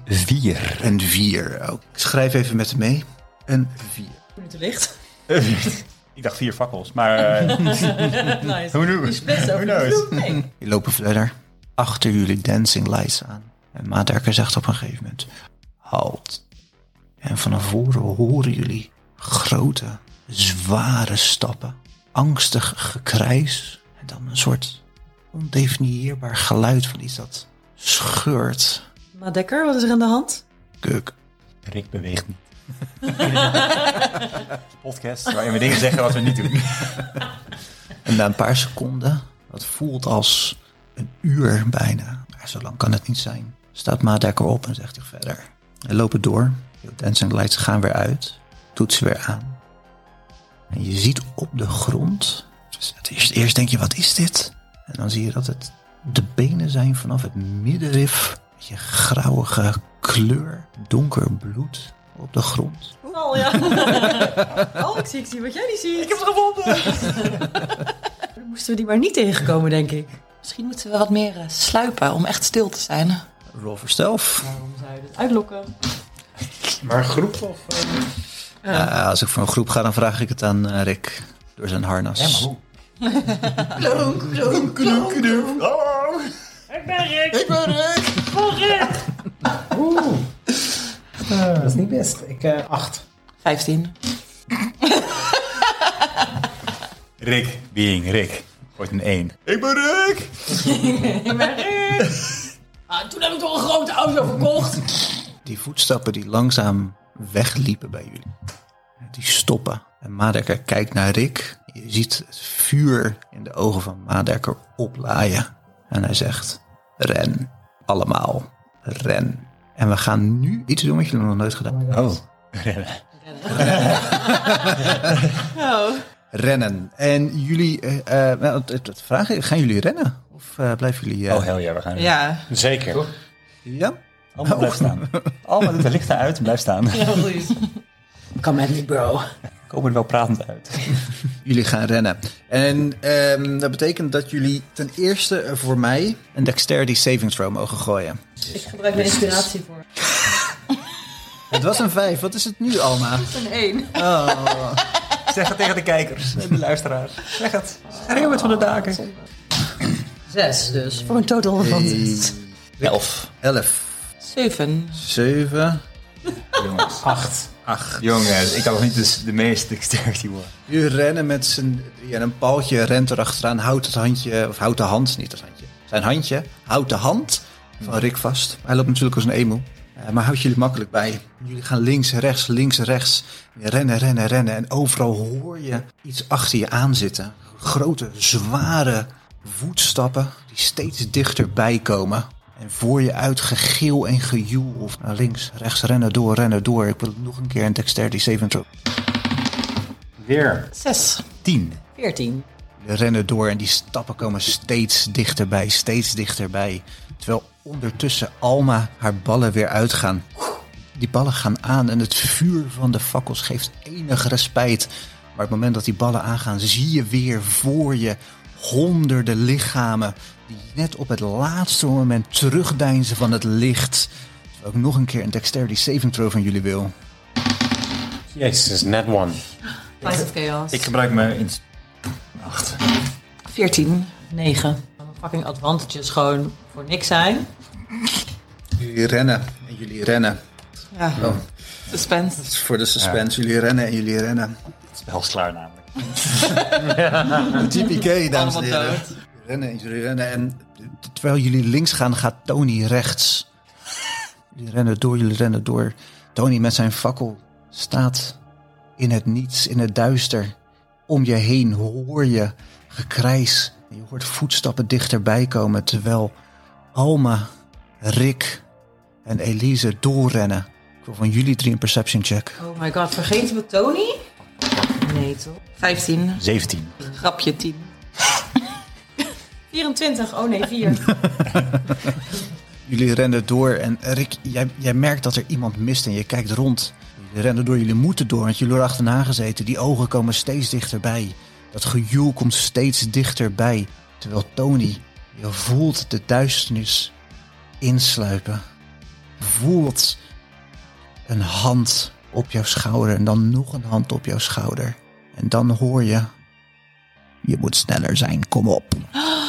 Speaker 6: vier.
Speaker 5: Een vier. ook. Ik schrijf even met hem mee. Een vier.
Speaker 7: Minuten licht.
Speaker 6: ik dacht vier fakkels, maar eh,
Speaker 7: Nice.
Speaker 6: who knows? Who knows?
Speaker 5: Die lopen verder. Achter jullie dancing lights aan. En Maderker zegt op een gegeven moment... Halt. En van voren horen jullie grote, zware stappen. Angstig gekrijs. En dan een soort ondefinieerbaar geluid van iets dat scheurt...
Speaker 7: Madekker, wat is er aan de hand?
Speaker 5: Kuk.
Speaker 6: Rick beweegt niet. Podcast waarin we dingen zeggen wat we niet doen.
Speaker 5: En na een paar seconden, dat voelt als een uur bijna, maar zo lang kan het niet zijn, staat Madekker op en zegt hij verder. En lopen door, de dancing lights gaan weer uit, doet ze weer aan. En je ziet op de grond, dus het eerst, eerst denk je wat is dit? En dan zie je dat het de benen zijn vanaf het middenrif, je grauwige kleur, donker bloed op de grond.
Speaker 7: Oh ja. Oh, ik zie, ik zie wat jij niet ziet. Ik heb het gevonden. Dan moesten we die maar niet tegenkomen, denk ik.
Speaker 3: Misschien moeten we wat meer eh, sluipen om echt stil te zijn.
Speaker 5: Roll for stealth.
Speaker 7: Waarom zou je dit uitlokken?
Speaker 4: Maar groep of...
Speaker 5: Eh, als ik voor een groep ga, dan vraag ik het aan eh, Rick door zijn harnas.
Speaker 6: Ja, maar hoe? Hallo!
Speaker 4: Eh, dat is niet eh, best. Ik, acht.
Speaker 3: 15.
Speaker 9: Rick, being Rick. Gooit een 1. Ik ben Rick!
Speaker 7: Ah, toen heb ik toch een grote auto verkocht.
Speaker 10: Die voetstappen die langzaam wegliepen bij jullie, die stoppen. En Madekker kijkt naar Rick. Je ziet het vuur in de ogen van Madekker oplaaien. En hij zegt, ren. Allemaal, ren. En we gaan nu iets doen wat jullie nog nooit gedaan hebben.
Speaker 9: Oh.
Speaker 10: Rennen. En jullie, eh, eh, nou, het, het- het vraag is, gaan jullie rennen? Of eh, blijven jullie... eh,
Speaker 6: Oh, hell ja, we gaan
Speaker 5: Ja,
Speaker 4: Zeker.
Speaker 10: ja?
Speaker 6: Allemaal blijf staan. Allemaal doet de lichten uit en blijf staan.
Speaker 7: Kom met me, bro.
Speaker 6: Komen er wel pratend uit.
Speaker 10: Jullie gaan rennen. En ehm, dat betekent dat jullie ten eerste eh, voor mij een dexterity saving throw mogen gooien.
Speaker 7: Ik gebruik mijn inspiratie voor.
Speaker 10: Het was een 5. Wat is het nu, Alma?
Speaker 7: Een één.
Speaker 6: Zeg het tegen de kijkers en de luisteraars. Zeg het. Schreeuw het van de daken.
Speaker 7: Zes dus. Voor een total van...
Speaker 6: Elf.
Speaker 10: 11,
Speaker 5: zeven.
Speaker 10: 7.
Speaker 6: Jongens. Acht. Acht. Jongens, ik had nog niet de, de meest dexterity worden.
Speaker 10: Jullie rennen met z'n drieën en een paaltje rent erachteraan. Houdt het handje, of houdt de hand, niet het handje. Zijn handje houdt de hand van Rick vast. Hij loopt natuurlijk als een emu. eh, maar houdt jullie makkelijk bij. Jullie gaan links, rechts, links, rechts. Rennen, rennen, rennen. En overal hoor je iets achter je aan zitten. Grote, zware voetstappen die steeds dichterbij komen. En voor je uit gegil en gejoel. Of naar links, rechts, rennen door, rennen door. Ik wil nog een keer een dexterity saving throw.
Speaker 6: Weer.
Speaker 5: Zes.
Speaker 10: Tien.
Speaker 7: Veertien.
Speaker 10: We rennen door en die stappen komen steeds dichterbij, steeds dichterbij. Terwijl ondertussen Alma haar ballen weer uitgaan. Die ballen gaan aan en het vuur van de fakkels geeft enig respijt. Maar op het moment dat die ballen aangaan, zie je weer voor je honderden lichamen. Die net op het laatste moment terugdeinzen van het licht. Terwijl ik nog een keer een dexterity saving throw van jullie wil.
Speaker 4: Jezus, net one.
Speaker 7: Light of Chaos.
Speaker 6: Ik gebruik mijn... ins- Acht.
Speaker 5: Veertien.
Speaker 7: Negen. Fucking advantages gewoon voor niks zijn.
Speaker 10: Jullie rennen en jullie rennen.
Speaker 5: Ja. Suspense.
Speaker 10: Dat is voor de suspense. Jullie rennen en jullie rennen.
Speaker 6: Het spel is klaar namelijk.
Speaker 10: TPK, dames en
Speaker 5: Allemaal
Speaker 10: heren.
Speaker 5: dood.
Speaker 10: Jullie Rennen, en jullie rennen. En t- terwijl jullie links gaan, gaat Tony rechts. Jullie rennen door, jullie rennen door. Tony met zijn fakkel staat in het niets, in het duister. Om je heen hoor je gekrijs. En je hoort voetstappen dichterbij komen. Terwijl Alma, Rick en Elise doorrennen. Ik wil van jullie drie een perception check.
Speaker 7: Oh my god, vergeten we Tony? Nee toch?
Speaker 5: Vijftien.
Speaker 9: 17.
Speaker 5: Grapje tien.
Speaker 7: 24, oh nee, 4.
Speaker 10: Jullie rennen door en Rick, jij, jij merkt dat er iemand mist en je kijkt rond. Jullie rennen door, jullie moeten door, want jullie worden achterna gezeten. Die ogen komen steeds dichterbij. Dat gejoel komt steeds dichterbij. Terwijl Tony, je voelt de duisternis insluipen. Voelt een hand op jouw schouder en dan nog een hand op jouw schouder. En dan hoor je, je moet sneller zijn, kom op.
Speaker 4: Ah,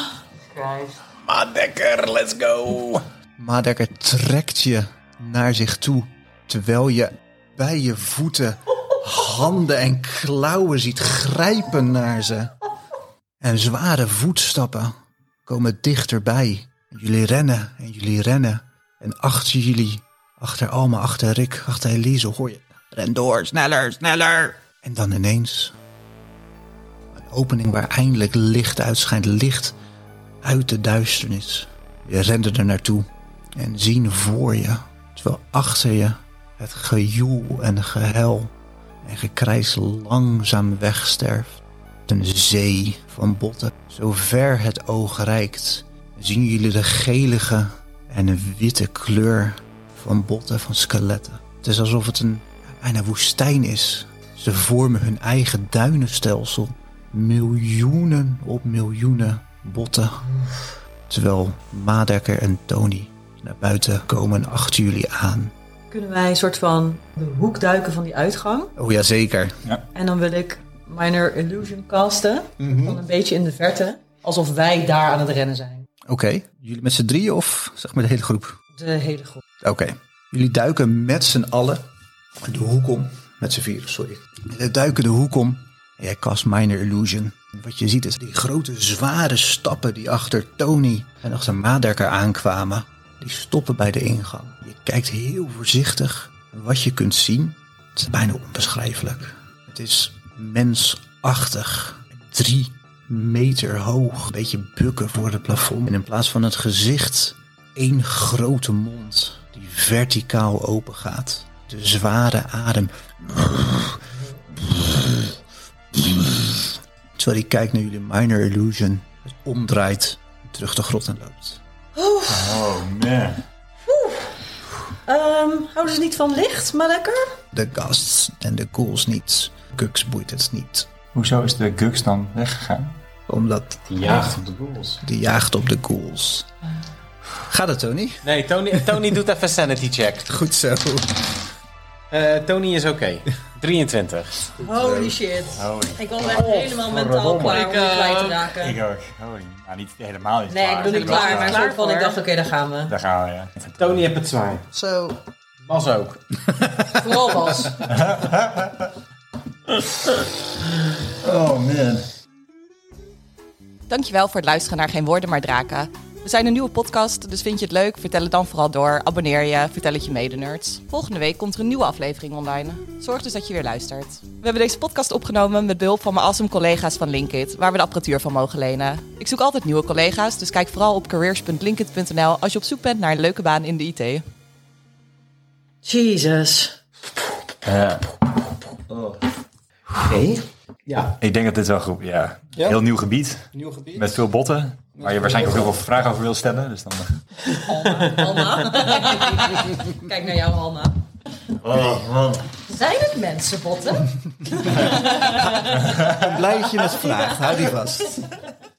Speaker 6: Madekker, let's go.
Speaker 10: Madekker trekt je naar zich toe. Terwijl je bij je voeten handen en klauwen ziet grijpen naar ze. En zware voetstappen komen dichterbij. Jullie rennen en jullie rennen. En achter jullie, achter Alma, achter Rick, achter Elise hoor je... Ren door, sneller, sneller! En dan ineens... Een opening waar eindelijk licht uitschijnt. Licht uit de duisternis. Je rende er naartoe en zien voor je, terwijl achter je het gejoel en gehuil en gekrijs langzaam wegsterft. Een zee van botten, zo ver het oog reikt, zien jullie de gelige en witte kleur van botten van skeletten. Het is alsof het een bijna woestijn is. Ze vormen hun eigen duinenstelsel, miljoenen op miljoenen botten Terwijl Madekker en Tony naar buiten komen en achter jullie aan.
Speaker 7: Kunnen wij een soort van de hoek duiken van die uitgang?
Speaker 10: Oh ja, zeker.
Speaker 7: En dan wil ik Minor Illusion casten. Van een beetje in de verte. Alsof wij daar aan het rennen zijn.
Speaker 10: Oké. Jullie met z'n drieën of zeg maar de hele groep?
Speaker 7: De hele groep.
Speaker 10: Oké. Jullie duiken met z'n allen de hoek om. Met z'n vieren, sorry. Jullie duiken de hoek om. En jij cast Minor Illusion. En wat je ziet is die grote zware stappen die achter Tony en achter Madekker aankwamen. Die stoppen bij de ingang. Je kijkt heel voorzichtig. En wat je kunt zien, het is bijna onbeschrijfelijk. Het is mensachtig. Drie meter hoog. Een beetje bukken voor het plafond. En in plaats van het gezicht, één grote mond die verticaal open gaat. De zware adem. Terwijl hij kijkt naar jullie Minor Illusion. Het omdraait, terug de grot in loopt.
Speaker 3: Ehm houden ze niet van licht, maar lekker?
Speaker 10: De gasts en de ghouls niet. Kux boeit het niet.
Speaker 6: Hoezo is de Gux dan weggegaan?
Speaker 10: Omdat
Speaker 4: Die jaagt op de boels.
Speaker 10: die jaagt op de ghouls. Gaat het, Tony?
Speaker 4: Nee, Tony, Tony doet even sanity check.
Speaker 10: Goed zo.
Speaker 4: Eh, Tony is oké. 23.
Speaker 3: Holy shit. Ik was echt helemaal mentaal klaar om dit kwijt te raken.
Speaker 6: Ik ook. Holy, nou, niet helemaal niet
Speaker 3: Nee, ik ben niet klaar, maar een soort van, ik
Speaker 7: voor.
Speaker 3: dacht, oké, daar gaan we.
Speaker 6: Daar gaan we, ja.
Speaker 4: Tony heeft het zwaar.
Speaker 10: Zo.
Speaker 4: Bas ook.
Speaker 3: Vooral Bas.
Speaker 7: Dankjewel voor het luisteren naar Geen Woorden Maar Draken. We zijn een nieuwe podcast, dus vind je het leuk? Vertel het dan vooral door. Abonneer je, vertel het je mede-nerds. Volgende week komt er een nieuwe aflevering online. Zorg dus dat je weer luistert. We hebben deze podcast opgenomen met behulp van mijn awesome collega's van Linkit, waar we de apparatuur van mogen lenen. Ik zoek altijd nieuwe collega's, dus kijk vooral op careers.linkit.nl als je op zoek bent naar een leuke baan in de IT.
Speaker 3: Jesus.
Speaker 11: Ja.
Speaker 6: Ik denk dat dit wel goed, ja.
Speaker 11: Ja?
Speaker 6: Heel nieuw gebied,
Speaker 11: Nieuw gebied.
Speaker 6: met veel botten, waar je waarschijnlijk ook heel veel vragen over wil stellen. Dus dan...
Speaker 3: Alma. Kijk naar jou, Alma.
Speaker 6: Oh, man.
Speaker 3: Zijn het mensenbotten?
Speaker 10: Een blijtje met vraag. Hou die vast.